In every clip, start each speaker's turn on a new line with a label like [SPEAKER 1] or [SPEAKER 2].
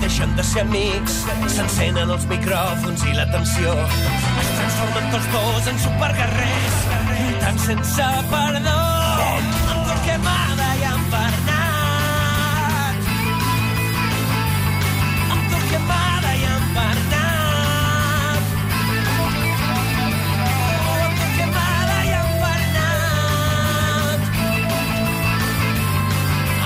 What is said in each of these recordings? [SPEAKER 1] deixen de ser amics. S'encenen els micròfons i l'atenció. Es transformen tots dos en superguerrers, lluitant sense perdó. Amb Torquemada i amb Bernat. Amb Torquemada i amb Bernat. Amb Torquemada i amb Bernat.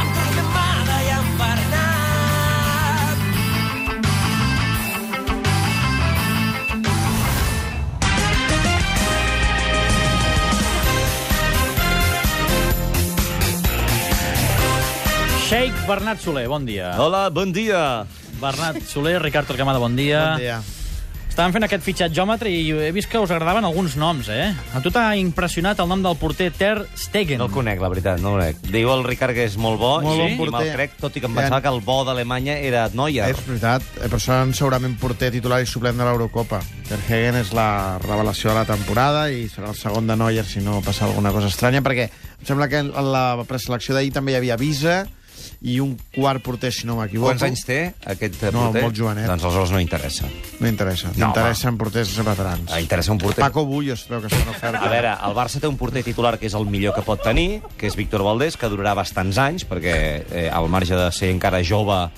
[SPEAKER 1] Amb Torquemada i amb Bernat.
[SPEAKER 2] Sheik Bernat Soler, bon dia.
[SPEAKER 3] Hola, bon dia.
[SPEAKER 2] Bernat Soler, Ricard Torquemada, bon dia.
[SPEAKER 4] Bon dia.
[SPEAKER 2] Estàvem fent aquest fitxatjòmetre i he vist que us agradaven alguns noms, eh? A tu t'ha impressionat el nom del porter Ter Stegen.
[SPEAKER 3] No el conec, la veritat, no el conec. Diu el Ricard que és molt bo,
[SPEAKER 4] Molt
[SPEAKER 3] i,
[SPEAKER 4] bon
[SPEAKER 3] i me'l
[SPEAKER 4] porter.
[SPEAKER 3] crec, tot i que em
[SPEAKER 4] Ja.
[SPEAKER 3] pensava que el bo d'Alemanya era Neuer.
[SPEAKER 4] És veritat, eh, per això en segurament porter titular i suplent de l'Eurocopa. Ter Hegen és la revelació de la temporada i serà el segon de Neuer si no passa alguna cosa estranya, perquè em sembla que en la preselecció d'ahir també hi havia Visa i un quart porter, si no m'equivoco.
[SPEAKER 3] Quants anys té aquest eh,
[SPEAKER 4] No,
[SPEAKER 3] porter?
[SPEAKER 4] molt jovenet.
[SPEAKER 3] Doncs aleshores no interessa.
[SPEAKER 4] No interessa.
[SPEAKER 3] No,
[SPEAKER 4] No, Interessen porters veterans.
[SPEAKER 3] Ah, interessa un porter.
[SPEAKER 4] Paco Bullos, creu que s'ha oferta.
[SPEAKER 3] A veure, el Barça té un porter titular que és el millor que pot tenir, que és Víctor Valdés, que durarà bastants anys, perquè eh, al marge de ser encara jove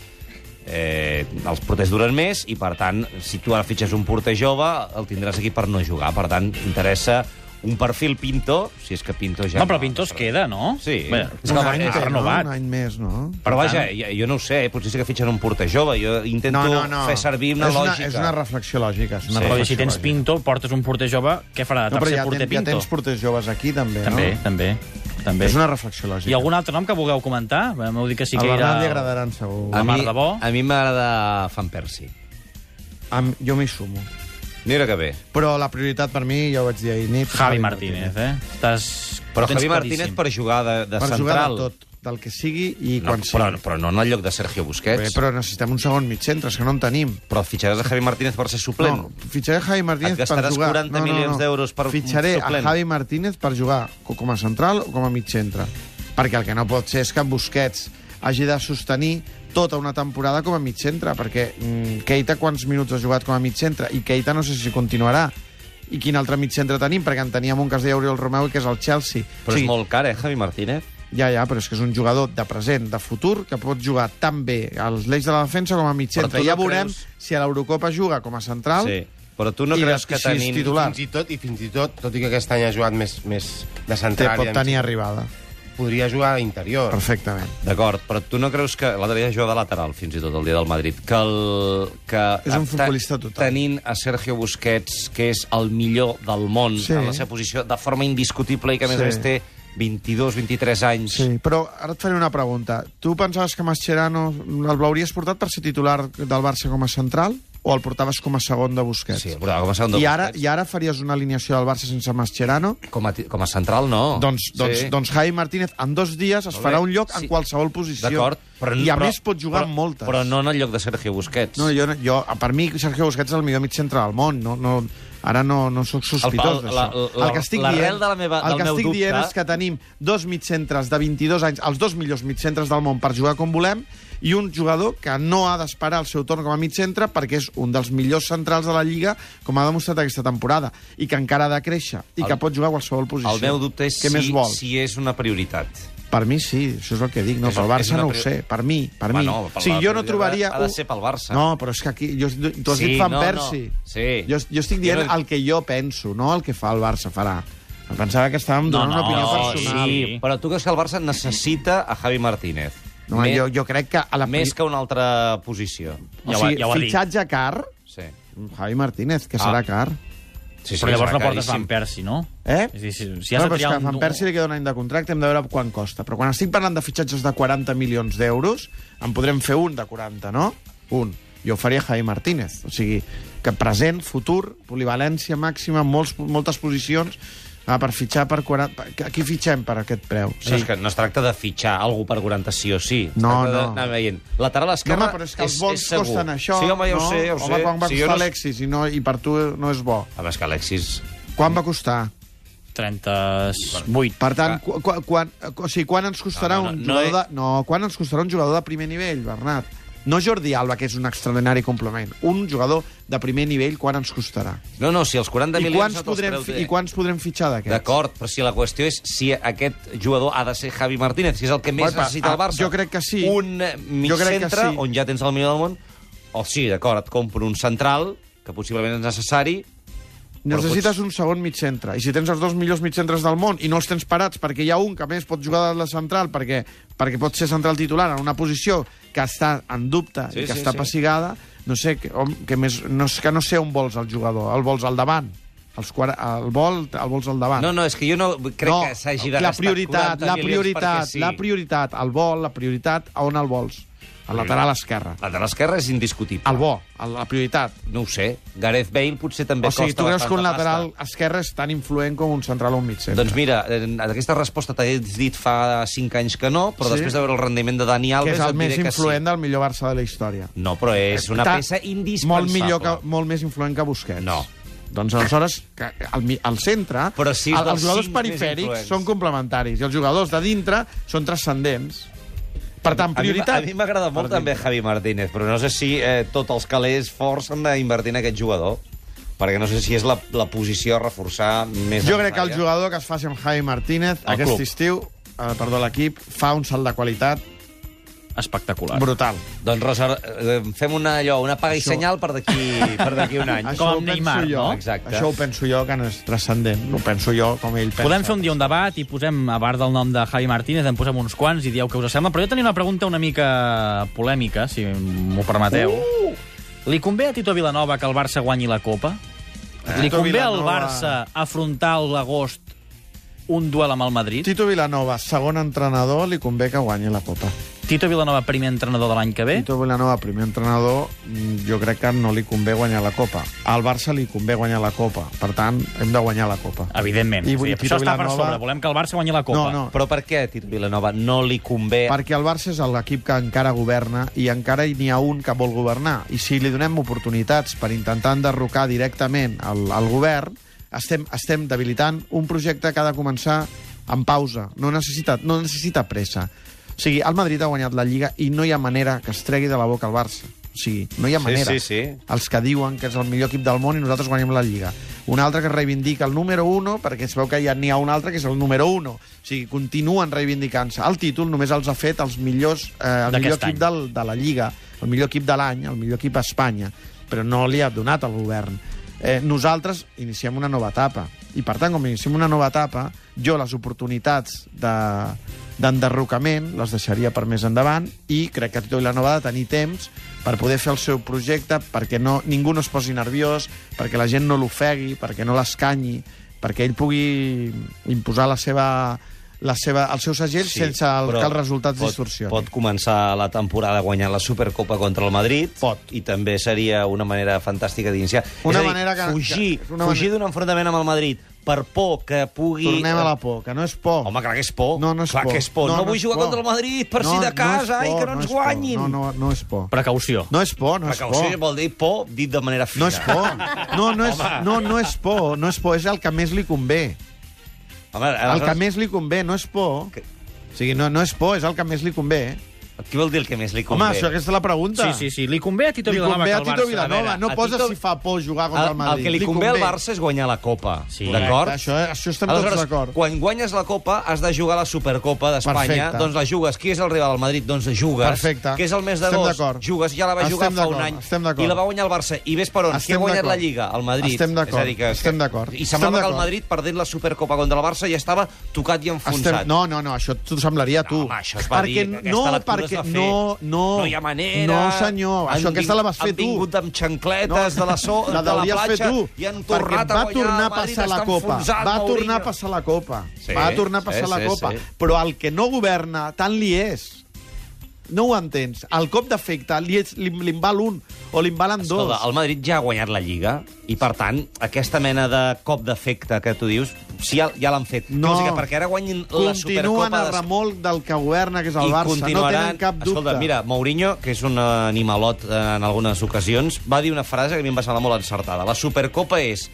[SPEAKER 3] eh, els porters duren més, i per tant, si tu ara fitxes un porter jove, el tindràs aquí per no jugar. Per tant, interessa un perfil Pinto, si és que Pinto ja...
[SPEAKER 2] No, però Pinto es queda, no?
[SPEAKER 3] Sí.
[SPEAKER 2] Bé, és
[SPEAKER 3] Un
[SPEAKER 2] que
[SPEAKER 3] any
[SPEAKER 2] any,
[SPEAKER 3] té,
[SPEAKER 2] ha
[SPEAKER 4] no?
[SPEAKER 2] renovat.
[SPEAKER 4] Un any més, no?
[SPEAKER 3] Però vaja, jo, jo no ho sé, eh, potser sí que fitxen un porter jove. Jo intento fer servir una
[SPEAKER 4] és una,
[SPEAKER 3] lògica.
[SPEAKER 4] És una reflexió lògica. És una
[SPEAKER 3] Sí.
[SPEAKER 2] Però
[SPEAKER 4] reflexió
[SPEAKER 2] i si tens
[SPEAKER 4] lògica.
[SPEAKER 2] Pinto, portes un porter jove, què farà?
[SPEAKER 4] No, però
[SPEAKER 2] Tercer
[SPEAKER 4] ja,
[SPEAKER 2] porter
[SPEAKER 4] ten, ja
[SPEAKER 2] Pinto?
[SPEAKER 4] tens porters joves aquí, també,
[SPEAKER 2] També,
[SPEAKER 4] no?
[SPEAKER 2] també, també.
[SPEAKER 4] És una reflexió lògica.
[SPEAKER 2] Hi ha algun altre nom que vulgueu comentar? Bé, M'heu dit que sí
[SPEAKER 4] Al
[SPEAKER 2] que era...
[SPEAKER 4] Bernat li agradaran, segur.
[SPEAKER 2] Ah.
[SPEAKER 3] a
[SPEAKER 2] la
[SPEAKER 3] mi,
[SPEAKER 2] Mar de Bo.
[SPEAKER 3] a mi m'agrada Fan Persi.
[SPEAKER 4] Am, jo m'hi sumo.
[SPEAKER 3] Mira que bé.
[SPEAKER 4] Però la prioritat per mi, ja ho vaig dir ahir nit...
[SPEAKER 2] Javi Martínez, eh? Estàs...
[SPEAKER 3] Però
[SPEAKER 2] ho tens
[SPEAKER 3] Javi Martínez
[SPEAKER 2] claríssim.
[SPEAKER 3] per jugar de, de
[SPEAKER 4] Per jugar
[SPEAKER 3] central.
[SPEAKER 4] de tot, del que sigui i
[SPEAKER 3] No,
[SPEAKER 4] quan
[SPEAKER 3] però,
[SPEAKER 4] sigui.
[SPEAKER 3] però no en el lloc de Sergio Busquets.
[SPEAKER 4] Bé,
[SPEAKER 3] però...
[SPEAKER 4] però necessitem un segon mig centre, és que no en tenim.
[SPEAKER 3] però fitxaràs a Javi Martínez per ser suplent.
[SPEAKER 4] No, fitxaré Javi Martínez
[SPEAKER 3] Et
[SPEAKER 4] per
[SPEAKER 3] gastaràs
[SPEAKER 4] jugar.
[SPEAKER 3] 40 milions d'euros per un
[SPEAKER 4] Fitxaré
[SPEAKER 3] suplent.
[SPEAKER 4] a Javi Martínez per jugar o com a central o com a mig centre. Perquè el que no pot ser és que Busquets hagi de sostenir tota una temporada com a mig centre, perquè mm, Keita quants minuts ha jugat com a mig centre? I Keita no sé si continuarà. I quin altre mig centre tenim? Perquè en teníem un que es deia Oriol Romeu i que és el Chelsea.
[SPEAKER 3] Però és molt car, eh, Javi Martínez?
[SPEAKER 4] Ja, ja, però és que és un jugador de present, de futur, que pot jugar tan bé als l'eix de la defensa com a mig
[SPEAKER 3] Però tu
[SPEAKER 4] centre.
[SPEAKER 3] no
[SPEAKER 4] Ja veurem
[SPEAKER 3] creus-
[SPEAKER 4] si a l'Eurocopa juga com a central
[SPEAKER 3] Sí. Però tu no
[SPEAKER 4] I
[SPEAKER 3] creus
[SPEAKER 4] de-
[SPEAKER 3] que
[SPEAKER 4] si és
[SPEAKER 3] tenint...
[SPEAKER 4] titular.
[SPEAKER 5] Fins i tot, i fins i tot, tot i que aquest any ha jugat més, més de
[SPEAKER 4] Te
[SPEAKER 5] central,
[SPEAKER 4] pot
[SPEAKER 5] i
[SPEAKER 4] tenir arribada.
[SPEAKER 5] podria jugar a interior.
[SPEAKER 4] Perfectament.
[SPEAKER 3] D'acord, però tu no creus que... L'altre dia jugava de lateral, fins i tot, el dia del Madrid. Que el... Que
[SPEAKER 4] És un
[SPEAKER 3] te-
[SPEAKER 4] futbolista total.
[SPEAKER 3] Tenint a Sergio Busquets, que és el millor del món
[SPEAKER 4] Sí.
[SPEAKER 3] en la seva posició, de forma indiscutible i que, a més
[SPEAKER 4] Sí.
[SPEAKER 3] a més, té 22, 23 anys.
[SPEAKER 4] Sí, però ara et faré una pregunta. Tu pensaves que Mascherano el l'hauries portat per ser titular del Barça com a central o el portaves com a segon de Busquets?
[SPEAKER 3] Sí, però com a segon de
[SPEAKER 4] I ara,
[SPEAKER 3] Busquets.
[SPEAKER 4] I ara faries una alineació del Barça sense Mascherano?
[SPEAKER 3] Com a, ti- com a central, no.
[SPEAKER 4] Doncs, doncs,
[SPEAKER 3] Oh, Sí.
[SPEAKER 4] doncs Javi Martínez en dos dies es
[SPEAKER 3] Molt bé.
[SPEAKER 4] farà un lloc
[SPEAKER 3] Sí.
[SPEAKER 4] en qualsevol posició.
[SPEAKER 3] D'acord. però-
[SPEAKER 4] I a
[SPEAKER 3] però-
[SPEAKER 4] més pot jugar
[SPEAKER 3] però,
[SPEAKER 4] en moltes.
[SPEAKER 3] Però no en el lloc de Sergio Busquets.
[SPEAKER 4] No, jo, jo, per mi Sergio Busquets és el millor mig centre del món. No, no, ara no, no sóc sospitós
[SPEAKER 3] El- el-
[SPEAKER 4] d'això.
[SPEAKER 3] la-
[SPEAKER 4] El que estic
[SPEAKER 3] l'arrel
[SPEAKER 4] dient,
[SPEAKER 3] de la meva-
[SPEAKER 4] el
[SPEAKER 3] del
[SPEAKER 4] que
[SPEAKER 3] meu
[SPEAKER 4] estic
[SPEAKER 3] dubte-
[SPEAKER 4] dient és que tenim dos mig centres de 22 anys, els dos millors mig centres del món per jugar com volem, i un jugador que no ha d'esperar el seu torn com a mig centre perquè és un dels millors centrals de la Lliga, com ha demostrat aquesta temporada, i que encara ha de créixer, i
[SPEAKER 3] El-
[SPEAKER 4] que pot jugar a qualsevol posició.
[SPEAKER 3] El meu dubte és
[SPEAKER 4] Què
[SPEAKER 3] si,
[SPEAKER 4] més vol?
[SPEAKER 3] si és una prioritat.
[SPEAKER 4] Per mi sí, això és el que dic. No,
[SPEAKER 3] És-
[SPEAKER 4] pel
[SPEAKER 3] és
[SPEAKER 4] Barça
[SPEAKER 3] una
[SPEAKER 4] no ho
[SPEAKER 3] prior-
[SPEAKER 4] sé. Per mi, per mi.
[SPEAKER 3] Bueno, per
[SPEAKER 4] o sigui,
[SPEAKER 3] la
[SPEAKER 4] jo no
[SPEAKER 3] prioritat
[SPEAKER 4] trobaria...
[SPEAKER 3] ha de
[SPEAKER 4] un-
[SPEAKER 3] ser pel Barça.
[SPEAKER 4] No, però és que aquí... Jo, tu has
[SPEAKER 3] Sí,
[SPEAKER 4] dit Fan
[SPEAKER 3] no, no.
[SPEAKER 4] Persi.
[SPEAKER 3] Sí.
[SPEAKER 4] Jo, jo estic dient
[SPEAKER 3] Jo no-
[SPEAKER 4] el que jo penso, no el que fa el Barça farà. Em pensava que estàvem
[SPEAKER 2] No,
[SPEAKER 4] donant
[SPEAKER 2] no,
[SPEAKER 4] una opinió
[SPEAKER 2] no,
[SPEAKER 4] personal.
[SPEAKER 2] sí.
[SPEAKER 3] Però tu creus que el Barça necessita a Javi Martínez?
[SPEAKER 4] No,
[SPEAKER 3] més,
[SPEAKER 4] jo, jo crec que... A la
[SPEAKER 3] més que una altra posició.
[SPEAKER 4] O
[SPEAKER 2] Ja ho ha-
[SPEAKER 4] sigui,
[SPEAKER 2] ja ho ha dit.
[SPEAKER 4] fitxatge car...
[SPEAKER 3] Sí.
[SPEAKER 4] Javi Martínez,
[SPEAKER 3] Ah.
[SPEAKER 4] que serà car.
[SPEAKER 3] Sí,
[SPEAKER 2] Però llavors
[SPEAKER 3] serà
[SPEAKER 2] no portes Van
[SPEAKER 3] caríssim.
[SPEAKER 2] Persi, no?
[SPEAKER 4] Eh?
[SPEAKER 2] És a dir, si, si has de
[SPEAKER 4] no, però és
[SPEAKER 2] triar
[SPEAKER 4] que
[SPEAKER 2] un...
[SPEAKER 4] a Van Persi li queda un any de contracte, hem de veure quan costa. Però quan estic parlant de fitxatges de 40 milions d'euros, en podrem fer un de 40, no? Un. Jo ho faria Javi Martínez. O sigui, que present, futur, polivalència màxima, molts, moltes posicions, ah, per fitxar per 40... per- Aquí fitxem per aquest preu.
[SPEAKER 3] Sí. És que no es tracta de fitxar algú per 40 sí o sí. Es
[SPEAKER 4] No,
[SPEAKER 3] tracta
[SPEAKER 4] no.
[SPEAKER 3] d'anar Veient. Lateral esquerra
[SPEAKER 4] no, home, però és que els bons
[SPEAKER 3] segur.
[SPEAKER 4] costen això,
[SPEAKER 3] Sí, home, ja
[SPEAKER 4] no?
[SPEAKER 3] ho sé, ja ho
[SPEAKER 4] home,
[SPEAKER 3] sé.
[SPEAKER 4] quan va
[SPEAKER 3] Si jo
[SPEAKER 4] costar
[SPEAKER 3] no-
[SPEAKER 4] l'Alexis i, no, i per tu no és bo.
[SPEAKER 3] A més que Alexis...
[SPEAKER 4] Quan va costar?
[SPEAKER 2] 38.
[SPEAKER 4] Per tant, cu cu quan, o sigui, quan ens costarà
[SPEAKER 3] No, no, no,
[SPEAKER 4] un
[SPEAKER 3] no
[SPEAKER 4] jugador
[SPEAKER 3] he-
[SPEAKER 4] de... No, quan ens costarà un jugador de primer nivell, Bernat? No Jordi Alba, que és un extraordinari complement. Un jugador de primer nivell, quan ens costarà?
[SPEAKER 3] No, no, si els 40
[SPEAKER 4] I
[SPEAKER 3] milions...
[SPEAKER 4] quants,
[SPEAKER 3] no te'ls eh?
[SPEAKER 4] podrem,
[SPEAKER 3] treu
[SPEAKER 4] fi-
[SPEAKER 3] de-
[SPEAKER 4] I quants podrem fitxar d'aquests?
[SPEAKER 3] D'acord, però si la qüestió és si aquest jugador ha de ser Javi Martínez, si és el que més
[SPEAKER 4] Guapa,
[SPEAKER 3] necessita el
[SPEAKER 4] ah,
[SPEAKER 3] Barça.
[SPEAKER 4] jo crec que sí.
[SPEAKER 3] Un eh, mig
[SPEAKER 4] Jo crec que
[SPEAKER 3] centre
[SPEAKER 4] sí.
[SPEAKER 3] on ja tens el millor del món. O sí, d'acord, et compro un central, que possiblement és necessari,
[SPEAKER 4] Necessites un segon mig centre. I si tens els dos millors mig centres del món i no els tens parats perquè hi ha un que a més pot jugar de la central perquè, perquè pot ser central titular en una posició que està en dubte
[SPEAKER 3] Sí,
[SPEAKER 4] i que
[SPEAKER 3] sí,
[SPEAKER 4] està
[SPEAKER 3] sí.
[SPEAKER 4] pessigada, no sé, que, on, que, més, no, és que no sé on vols el jugador. El vols al davant. Els, quara- el, vol, el vols al davant.
[SPEAKER 3] No, no, és que jo no crec
[SPEAKER 4] Ah. No,
[SPEAKER 3] que s'hagi de
[SPEAKER 4] la
[SPEAKER 3] gastar
[SPEAKER 4] prioritat,
[SPEAKER 3] 40
[SPEAKER 4] la
[SPEAKER 3] milions
[SPEAKER 4] prioritat,
[SPEAKER 3] perquè sí.
[SPEAKER 4] la prioritat, el vol, la prioritat, a on el vols? Al lateral esquerre.
[SPEAKER 3] La de l'esquerra és indiscutible.
[SPEAKER 4] El bo, el- la prioritat.
[SPEAKER 3] No ho sé. Gareth Bale potser també
[SPEAKER 4] O sigui,
[SPEAKER 3] costa
[SPEAKER 4] tu creus
[SPEAKER 3] bastant
[SPEAKER 4] que un
[SPEAKER 3] de
[SPEAKER 4] lateral
[SPEAKER 3] pasta.
[SPEAKER 4] esquerre és tan influent com un central o un mig centre?
[SPEAKER 3] Doncs mira, eh, aquesta resposta t'he dit fa 5 anys que no, però
[SPEAKER 4] Sí?
[SPEAKER 3] sí? després de veure el rendiment de Dani Alves...
[SPEAKER 4] que és el
[SPEAKER 3] et
[SPEAKER 4] més
[SPEAKER 3] diré que
[SPEAKER 4] influent del millor Barça de la història.
[SPEAKER 3] Sí. No, però és una
[SPEAKER 4] Ta-
[SPEAKER 3] peça indispensable.
[SPEAKER 4] Molt, millor que, molt més influent que Busquets.
[SPEAKER 3] No.
[SPEAKER 4] Doncs aleshores, que el, mi- el centre,
[SPEAKER 3] Però sí,
[SPEAKER 4] el-
[SPEAKER 3] dels
[SPEAKER 4] els jugadors
[SPEAKER 3] cinc més
[SPEAKER 4] perifèrics
[SPEAKER 3] influents.
[SPEAKER 4] són complementaris i els jugadors de dintre són transcendents. Per tant,
[SPEAKER 3] A mi- A
[SPEAKER 4] prioritat...
[SPEAKER 3] mi m'agrada molt
[SPEAKER 4] Per
[SPEAKER 3] també Javi Martínez, però no sé si eh, tots els calés forts han d'invertir en aquest jugador, perquè no sé si és la, la posició a reforçar més...
[SPEAKER 4] Jo crec que el
[SPEAKER 3] necessària.
[SPEAKER 4] jugador que es faci amb Javi Martínez
[SPEAKER 3] Al
[SPEAKER 4] aquest
[SPEAKER 3] club.
[SPEAKER 4] estiu, eh, perdó, l'equip, fa un salt de qualitat
[SPEAKER 2] Espectacular.
[SPEAKER 4] brutal.
[SPEAKER 3] Doncs, Rosa, eh, fem una, allò, una paga i senyal per d'aquí per d'aquí un any.
[SPEAKER 2] Com
[SPEAKER 4] ho
[SPEAKER 2] amb
[SPEAKER 4] penso
[SPEAKER 2] Neymar,
[SPEAKER 4] jo.
[SPEAKER 2] no?
[SPEAKER 3] Exacte.
[SPEAKER 4] Això ho penso jo, que no és transcendent. Ho penso jo, com ell pensa.
[SPEAKER 2] Podem fer un dia un debat i posem, a part del nom de Javi Martínez, en posem uns quants i dieu què us sembla. Però jo tenia una pregunta una mica polèmica, si m'ho permeteu. Uh! Li convé a Tito Vilanova que el Barça guanyi la Copa? Li
[SPEAKER 4] Eh? Tito
[SPEAKER 2] convé al
[SPEAKER 4] Vilanova-
[SPEAKER 2] Barça afrontar l'agost un duel amb el Madrid?
[SPEAKER 4] Tito Vilanova, segon entrenador, li convé que guanyi la Copa.
[SPEAKER 2] Tito Vilanova, primer entrenador de l'any que
[SPEAKER 3] Eh?
[SPEAKER 2] ve?
[SPEAKER 4] Tito Vilanova, primer entrenador, mm, jo crec que no li convé guanyar la Copa. Al Barça li convé guanyar la Copa. Per tant, hem de guanyar la Copa.
[SPEAKER 2] Evidentment.
[SPEAKER 4] I-
[SPEAKER 2] I,
[SPEAKER 4] i
[SPEAKER 2] sí,
[SPEAKER 4] Tito
[SPEAKER 2] això està per
[SPEAKER 4] Vilanova-
[SPEAKER 2] sobre. Volem que el Barça guanyi la Copa.
[SPEAKER 4] No, no.
[SPEAKER 3] Però per què a Tito Vilanova no li convé...
[SPEAKER 4] Perquè el Barça és l'equip que encara governa i encara hi n'hi ha un que vol governar. I si li donem oportunitats per intentar enderrocar directament el, el govern, estem, estem debilitant un projecte que ha de començar en pausa. No necessita, no necessita pressa. O sigui, el Madrid ha guanyat la Lliga i no hi ha manera que es tregui de la boca el Barça. O sigui, no hi ha
[SPEAKER 3] Sí,
[SPEAKER 4] manera.
[SPEAKER 3] sí, sí.
[SPEAKER 4] Els que diuen que és el millor equip del món i nosaltres guanyem la Lliga. Un altre que reivindica el número 1 perquè es veu que ja n'hi ha un altre que és el número 1. O sigui, continuen reivindicant-se. El títol només els ha fet els millors, eh, el
[SPEAKER 2] D'aquest
[SPEAKER 4] millor equip
[SPEAKER 2] any.
[SPEAKER 4] del, de la Lliga, el millor equip de l'any, el millor equip a Espanya, però no li ha donat al govern. Eh, nosaltres iniciem una nova etapa i, per tant, com iniciem una nova etapa, jo les oportunitats de d'enderrocament les deixaria per més endavant i crec que Tito Vilanova ha de tenir temps per poder fer el seu projecte perquè no, ningú no es posi nerviós, perquè la gent no l'ofegui, perquè no l'escanyi, perquè ell pugui imposar la seva, la seva, el seu segell sí, sense el,
[SPEAKER 3] però
[SPEAKER 4] que els resultats
[SPEAKER 3] pot,
[SPEAKER 4] distorsionin.
[SPEAKER 3] Pot començar la temporada guanyant la Supercopa contra el Madrid.
[SPEAKER 4] Pot.
[SPEAKER 3] I també seria una manera fantàstica d'iniciar.
[SPEAKER 4] Una
[SPEAKER 3] És a dir,
[SPEAKER 4] manera que-
[SPEAKER 3] Fugir,
[SPEAKER 4] que- és una
[SPEAKER 3] una fugir
[SPEAKER 4] manera-
[SPEAKER 3] d'un enfrontament amb el Madrid per por que pugui...
[SPEAKER 4] Tornem a la por, que no és por.
[SPEAKER 3] eh, Home, clar que és por.
[SPEAKER 4] No, no és
[SPEAKER 3] clar
[SPEAKER 4] por.
[SPEAKER 3] que és por. No, no, vull jugar contra el Madrid per si de
[SPEAKER 4] és
[SPEAKER 3] casa i
[SPEAKER 4] por,
[SPEAKER 3] que no ens
[SPEAKER 4] és por.
[SPEAKER 3] guanyin.
[SPEAKER 4] No, no, no és por.
[SPEAKER 2] Precaució.
[SPEAKER 4] No és por, no és
[SPEAKER 3] Precaució
[SPEAKER 4] por.
[SPEAKER 3] vol dir por dit de manera fina.
[SPEAKER 4] No és por. No, no és, no, no és por, no és por. És el que més li convé.
[SPEAKER 3] Home,
[SPEAKER 4] El que
[SPEAKER 3] aleshores,
[SPEAKER 4] més li convé no és por.
[SPEAKER 3] Que-
[SPEAKER 4] O sigui, no, no és por, és el que més li convé.
[SPEAKER 3] Què vol dir el que més li convé?
[SPEAKER 4] Home, això, aquesta és la pregunta.
[SPEAKER 2] Sí, sí, sí. Li convé a Tito
[SPEAKER 4] Li
[SPEAKER 2] Vilanova
[SPEAKER 4] convé
[SPEAKER 2] que
[SPEAKER 4] a
[SPEAKER 2] el Barça...
[SPEAKER 4] Tito
[SPEAKER 2] a
[SPEAKER 4] Vilanova.
[SPEAKER 2] veure,
[SPEAKER 4] No
[SPEAKER 3] a
[SPEAKER 4] posa
[SPEAKER 3] Tito-
[SPEAKER 4] si fa por jugar
[SPEAKER 3] El,
[SPEAKER 4] contra el Madrid.
[SPEAKER 3] el que li, convé al Barça és guanyar la Copa,
[SPEAKER 2] Sí.
[SPEAKER 3] d'acord?
[SPEAKER 4] Això, eh, això estem tots
[SPEAKER 3] Aleshores,
[SPEAKER 4] d'acord.
[SPEAKER 3] Quan guanyes la Copa, has de jugar la Supercopa d'Espanya,
[SPEAKER 4] Perfecte.
[SPEAKER 3] doncs la jugues. Qui és el rival del Madrid? Doncs la jugues.
[SPEAKER 4] Perfecte.
[SPEAKER 3] Què és el mes
[SPEAKER 4] Estem
[SPEAKER 3] d'agost?
[SPEAKER 4] d'acord.
[SPEAKER 3] Jugues, ja la va
[SPEAKER 4] Estem
[SPEAKER 3] jugar fa un
[SPEAKER 4] d'acord,
[SPEAKER 3] any.
[SPEAKER 4] estem d'acord.
[SPEAKER 3] I la va guanyar el Barça. I ves per on? Qui
[SPEAKER 4] Estem
[SPEAKER 3] ha guanyat la
[SPEAKER 4] d'acord.
[SPEAKER 3] Lliga? El Madrid.
[SPEAKER 4] Estem d'acord,
[SPEAKER 3] És a dir que-
[SPEAKER 4] estem d'acord.
[SPEAKER 3] I semblava
[SPEAKER 4] Estem
[SPEAKER 3] que el
[SPEAKER 4] d'acord.
[SPEAKER 3] Madrid, perdent la Supercopa contra el Barça, ja estava tocat i enfonsat.
[SPEAKER 4] Estem... No, no, no, això t'ho semblaria a tu.
[SPEAKER 3] No, home, això es va
[SPEAKER 4] perquè,
[SPEAKER 3] dir, aquesta
[SPEAKER 4] no,
[SPEAKER 3] lectura es
[SPEAKER 4] perquè,
[SPEAKER 3] va fer.
[SPEAKER 4] no, no,
[SPEAKER 3] No hi ha manera.
[SPEAKER 4] No, senyor,
[SPEAKER 3] Han
[SPEAKER 4] això aquesta la vas fer
[SPEAKER 3] han
[SPEAKER 4] tu.
[SPEAKER 3] vingut amb xancletes de la, so,
[SPEAKER 4] la
[SPEAKER 3] de la
[SPEAKER 4] deuries
[SPEAKER 3] platja
[SPEAKER 4] fer tu,
[SPEAKER 3] i han
[SPEAKER 4] perquè
[SPEAKER 3] tornat
[SPEAKER 4] va
[SPEAKER 3] a guanyar.
[SPEAKER 4] tornar a
[SPEAKER 3] el Madrid
[SPEAKER 4] passar la
[SPEAKER 3] està
[SPEAKER 4] copa.
[SPEAKER 3] enfonsat,
[SPEAKER 4] Va
[SPEAKER 3] Mourinho.
[SPEAKER 4] tornar a passar la copa.
[SPEAKER 3] Sí,
[SPEAKER 4] va tornar a passar
[SPEAKER 3] sí,
[SPEAKER 4] la
[SPEAKER 3] sí,
[SPEAKER 4] copa.
[SPEAKER 3] sí.
[SPEAKER 4] Però el que no governa, tant li és. No ho entens. El cop d'efecte li, és, li, li en val un o li en valen dos.
[SPEAKER 3] Escolta, el Madrid ja ha guanyat la Lliga i, per tant, aquesta mena de cop d'efecte que tu dius, si ja, ja l'han fet.
[SPEAKER 4] No.
[SPEAKER 3] O sigui, perquè ara guanyin la
[SPEAKER 4] Continuen
[SPEAKER 3] Supercopa
[SPEAKER 4] a
[SPEAKER 3] d'Espanya
[SPEAKER 4] remolc del que governa, que és el
[SPEAKER 3] i
[SPEAKER 4] Barça. No
[SPEAKER 3] continuaran...
[SPEAKER 4] tenen cap dubte.
[SPEAKER 3] Escolta, mira, Mourinho, que és un eh, animalot eh, en algunes ocasions, va dir una frase que a mi em va semblar molt encertada. La Supercopa és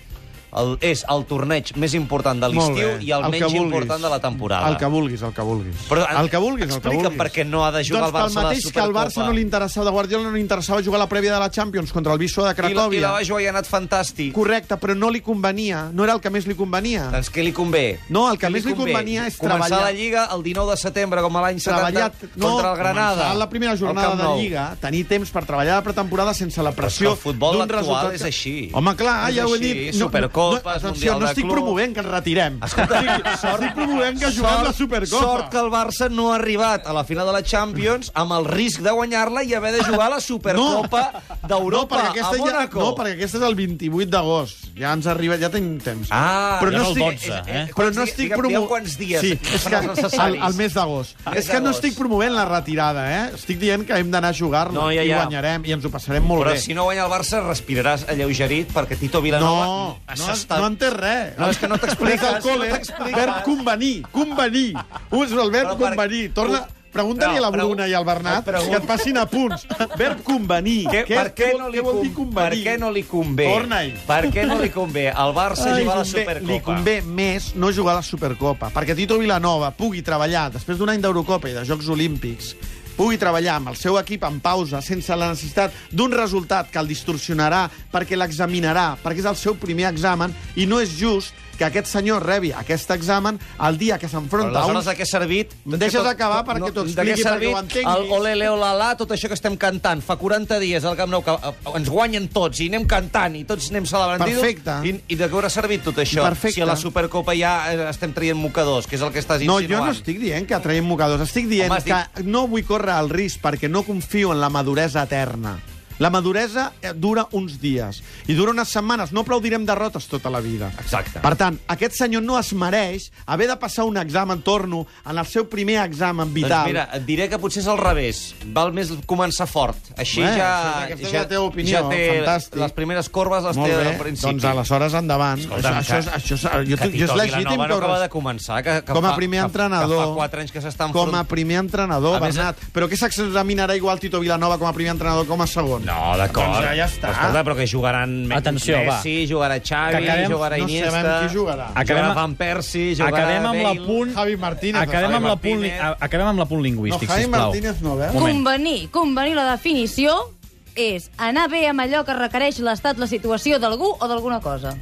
[SPEAKER 3] El, és el torneig més important de
[SPEAKER 4] Molt
[SPEAKER 3] l'estiu
[SPEAKER 4] bé.
[SPEAKER 3] i el,
[SPEAKER 4] que
[SPEAKER 3] menys
[SPEAKER 4] vulguis.
[SPEAKER 3] important de la temporada.
[SPEAKER 4] El que vulguis, el que vulguis.
[SPEAKER 3] Però,
[SPEAKER 4] el que vulguis, el que
[SPEAKER 3] explica'm
[SPEAKER 4] vulguis.
[SPEAKER 3] per què no ha de jugar el
[SPEAKER 4] doncs
[SPEAKER 3] Barça a
[SPEAKER 4] pel
[SPEAKER 3] la
[SPEAKER 4] mateix que al Barça
[SPEAKER 3] Supercopa.
[SPEAKER 4] no li interessava, de Guardiola no li interessava jugar la prèvia de la Champions contra el
[SPEAKER 3] I
[SPEAKER 4] Visua de
[SPEAKER 3] la, I
[SPEAKER 4] Cracòvia.
[SPEAKER 3] la va jugar i ha anat fantàstic.
[SPEAKER 4] Correcte, però no li convenia, no era el que més li convenia.
[SPEAKER 3] Doncs què li convé?
[SPEAKER 4] No, el que
[SPEAKER 3] Què
[SPEAKER 4] més li
[SPEAKER 3] convé?
[SPEAKER 4] convenia és
[SPEAKER 3] Començar
[SPEAKER 4] treballar.
[SPEAKER 3] la Lliga el 19 de setembre, com a l'any 70,
[SPEAKER 4] treballar...
[SPEAKER 3] contra el Granada.
[SPEAKER 4] començar la primera
[SPEAKER 3] al
[SPEAKER 4] jornada
[SPEAKER 3] Camp
[SPEAKER 4] de
[SPEAKER 3] Nou.
[SPEAKER 4] Lliga, tenir temps per treballar la pretemporada sense la pressió
[SPEAKER 3] Però és que el futbol
[SPEAKER 4] d'un
[SPEAKER 3] actual
[SPEAKER 4] resultat...
[SPEAKER 3] és així.
[SPEAKER 4] Home, clar,
[SPEAKER 3] És
[SPEAKER 4] ja ho he
[SPEAKER 3] així,
[SPEAKER 4] dit.
[SPEAKER 3] Supercopes,
[SPEAKER 4] atenció,
[SPEAKER 3] Mundial
[SPEAKER 4] no
[SPEAKER 3] de
[SPEAKER 4] estic
[SPEAKER 3] Clubs.
[SPEAKER 4] promovent que ens retirem. Escolta, estic, estic promovent que juguem la Supercopa.
[SPEAKER 3] Sort que el Barça no ha arribat a la final de la Champions amb el risc de guanyar-la i haver de jugar a la Supercopa d'Europa
[SPEAKER 4] perquè aquesta
[SPEAKER 3] a
[SPEAKER 4] ja,
[SPEAKER 3] Mónaco.
[SPEAKER 4] no, perquè aquesta és el 28 d'agost. Ja ens arriba, ja tenim temps.
[SPEAKER 3] Ah,
[SPEAKER 2] ja és el
[SPEAKER 4] estic,
[SPEAKER 2] 12, eh?
[SPEAKER 4] Però
[SPEAKER 3] Quants
[SPEAKER 4] no
[SPEAKER 3] dies-
[SPEAKER 4] estic
[SPEAKER 3] digue'm- digue'm
[SPEAKER 4] promovent...
[SPEAKER 3] quants dies
[SPEAKER 4] sí,
[SPEAKER 3] són
[SPEAKER 4] és que
[SPEAKER 3] els
[SPEAKER 4] al,
[SPEAKER 3] necessaris.
[SPEAKER 4] al mes d'agost.
[SPEAKER 3] Mes
[SPEAKER 4] És que no
[SPEAKER 3] d'agost.
[SPEAKER 4] estic promovent la retirada, eh? Estic dient que hem d'anar a jugar-la
[SPEAKER 3] No, ja,
[SPEAKER 4] i
[SPEAKER 3] ja.
[SPEAKER 4] guanyarem i ens ho passarem molt
[SPEAKER 3] Però
[SPEAKER 4] bé.
[SPEAKER 3] si no guanya el Barça, respiraràs alleugerit perquè Tito
[SPEAKER 4] No,
[SPEAKER 3] Vilanova...
[SPEAKER 4] no,
[SPEAKER 3] s'està-
[SPEAKER 4] no entès res.
[SPEAKER 3] No, és que no t'expliques,
[SPEAKER 4] Des del col·le, eh?
[SPEAKER 3] no t'expliques.
[SPEAKER 4] verb convenir, convenir. Ús el verb
[SPEAKER 3] Però per-
[SPEAKER 4] convenir. Torna, Pregunta-li
[SPEAKER 3] No,
[SPEAKER 4] a la
[SPEAKER 3] pregu-
[SPEAKER 4] Bruna i al Bernat
[SPEAKER 3] no, pregun-
[SPEAKER 4] que et passin a punts. Verb convenir.
[SPEAKER 3] Què,
[SPEAKER 4] Què,
[SPEAKER 3] per, què
[SPEAKER 4] vol-
[SPEAKER 3] no li
[SPEAKER 4] què vol dir
[SPEAKER 3] con- per
[SPEAKER 4] convenir?
[SPEAKER 3] què no li convé?
[SPEAKER 4] Torna-hi.
[SPEAKER 3] Per què no li convé al Barça
[SPEAKER 4] Ai,
[SPEAKER 3] jugar a la
[SPEAKER 4] convé-
[SPEAKER 3] Supercopa?
[SPEAKER 4] Li convé més no jugar a la Supercopa, perquè Tito Vilanova pugui treballar, després d'un any d'Eurocopa i de Jocs Olímpics, pugui treballar amb el seu equip en pausa, sense la necessitat d'un resultat que el distorsionarà, perquè l'examinarà, perquè és el seu primer examen, i no és just que aquest senyor rebi aquest examen el dia que
[SPEAKER 3] Però
[SPEAKER 4] s'enfronta a un...
[SPEAKER 3] aleshores de què ha servit...
[SPEAKER 4] Em deixes acabar perquè t'ho
[SPEAKER 3] de
[SPEAKER 4] expliqui,
[SPEAKER 3] què ha servit
[SPEAKER 4] perquè ho entenguis.
[SPEAKER 3] El ole, leo, la, la, tot això que estem cantant. Fa 40 dies al Camp Nou que eh, ens guanyen tots i anem cantant i tots anem celebrant.
[SPEAKER 4] Perfecte.
[SPEAKER 3] I, i de què haurà servit tot això?
[SPEAKER 4] Perfecte.
[SPEAKER 3] Si a la Supercopa ja eh, estem traient mocadors, que és el que estàs
[SPEAKER 4] No,
[SPEAKER 3] insinuant.
[SPEAKER 4] jo no estic dient que traiem mocadors, estic dient
[SPEAKER 3] Home,
[SPEAKER 4] Home,
[SPEAKER 3] estic-
[SPEAKER 4] que no vull córrer el risc perquè no confio en la maduresa eterna. La maduresa eh, dura uns dies i dura unes setmanes. No aplaudirem derrotes tota la vida.
[SPEAKER 3] Exacte.
[SPEAKER 4] Per tant, aquest senyor no es mereix haver de passar un examen, torno, en el seu primer examen vital.
[SPEAKER 3] Doncs mira, et diré que potser és al revés. Val més començar fort. Així
[SPEAKER 4] Bé,
[SPEAKER 3] ja...
[SPEAKER 4] aquesta és
[SPEAKER 3] ja,
[SPEAKER 4] la teva opinió,
[SPEAKER 3] ja té
[SPEAKER 4] fantàstic.
[SPEAKER 3] les primeres corbes les
[SPEAKER 4] Molt
[SPEAKER 3] té
[SPEAKER 4] bé,
[SPEAKER 3] al principi.
[SPEAKER 4] doncs aleshores endavant.
[SPEAKER 3] Escolta'm,
[SPEAKER 4] això, és,
[SPEAKER 3] que-
[SPEAKER 4] això, és, jo,
[SPEAKER 3] que
[SPEAKER 4] jo és
[SPEAKER 3] Tito
[SPEAKER 4] legítim
[SPEAKER 3] Vilanova
[SPEAKER 4] que
[SPEAKER 3] no acaba
[SPEAKER 4] hauràs-
[SPEAKER 3] de començar. Que, que
[SPEAKER 4] com a
[SPEAKER 3] fa-
[SPEAKER 4] primer
[SPEAKER 3] que-
[SPEAKER 4] entrenador...
[SPEAKER 3] Que fa 4 anys que s'està
[SPEAKER 4] Com a
[SPEAKER 3] enfrontant.
[SPEAKER 4] primer entrenador,
[SPEAKER 3] A més,
[SPEAKER 4] Bernat. Però què s'examinarà igual Tito Vilanova com a primer entrenador com a segon?
[SPEAKER 3] No, d'acord.
[SPEAKER 4] Doncs ja està.
[SPEAKER 3] Escolta, però que jugaran Me-
[SPEAKER 2] Atenció, va.
[SPEAKER 3] Messi, jugarà Xavi,
[SPEAKER 4] Que acabem-
[SPEAKER 3] jugarà
[SPEAKER 4] no
[SPEAKER 3] Iniesta...
[SPEAKER 4] sabem qui jugarà.
[SPEAKER 2] Acabem-
[SPEAKER 3] Jugarà Van Persie, jugarà
[SPEAKER 2] Acabem amb
[SPEAKER 3] Bale.
[SPEAKER 2] l'apunt...
[SPEAKER 4] Javi Martínez,
[SPEAKER 2] Acabem
[SPEAKER 3] Javi
[SPEAKER 2] amb l'apunt li-
[SPEAKER 3] Martínez.
[SPEAKER 2] a- acabem amb l'apunt lingüístic,
[SPEAKER 4] No, Javi
[SPEAKER 2] sisplau.
[SPEAKER 4] Martínez no, eh?
[SPEAKER 2] Un moment.
[SPEAKER 6] Convenir, convenir la definició és anar bé amb allò que requereix l'estat, la situació d'algú o d'alguna cosa.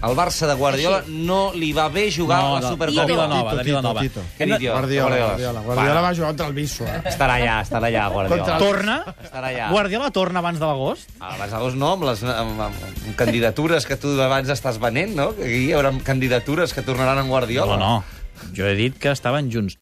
[SPEAKER 3] El Barça de Guardiola no li va bé jugar
[SPEAKER 2] No,
[SPEAKER 3] a la
[SPEAKER 2] no,
[SPEAKER 3] Supercopa.
[SPEAKER 2] de Vilanova, de
[SPEAKER 4] Tito,
[SPEAKER 2] Vilanova.
[SPEAKER 4] Tito, Tito.
[SPEAKER 3] Que idiota.
[SPEAKER 4] Guardiola,
[SPEAKER 3] Guardiola.
[SPEAKER 4] Guardiola. Guardiola va jugar contra el eh. Vísua.
[SPEAKER 3] Estarà allà, estarà allà, Guardiola.
[SPEAKER 2] Torna?
[SPEAKER 3] Estarà allà.
[SPEAKER 2] Guardiola torna abans de l'agost?
[SPEAKER 3] A les Agos no, amb les amb, amb, amb candidatures que tu abans estàs venent, no? Que aquí hi haurà candidatures que tornaran en Guardiola.
[SPEAKER 2] No, no. Jo he dit que estaven junts.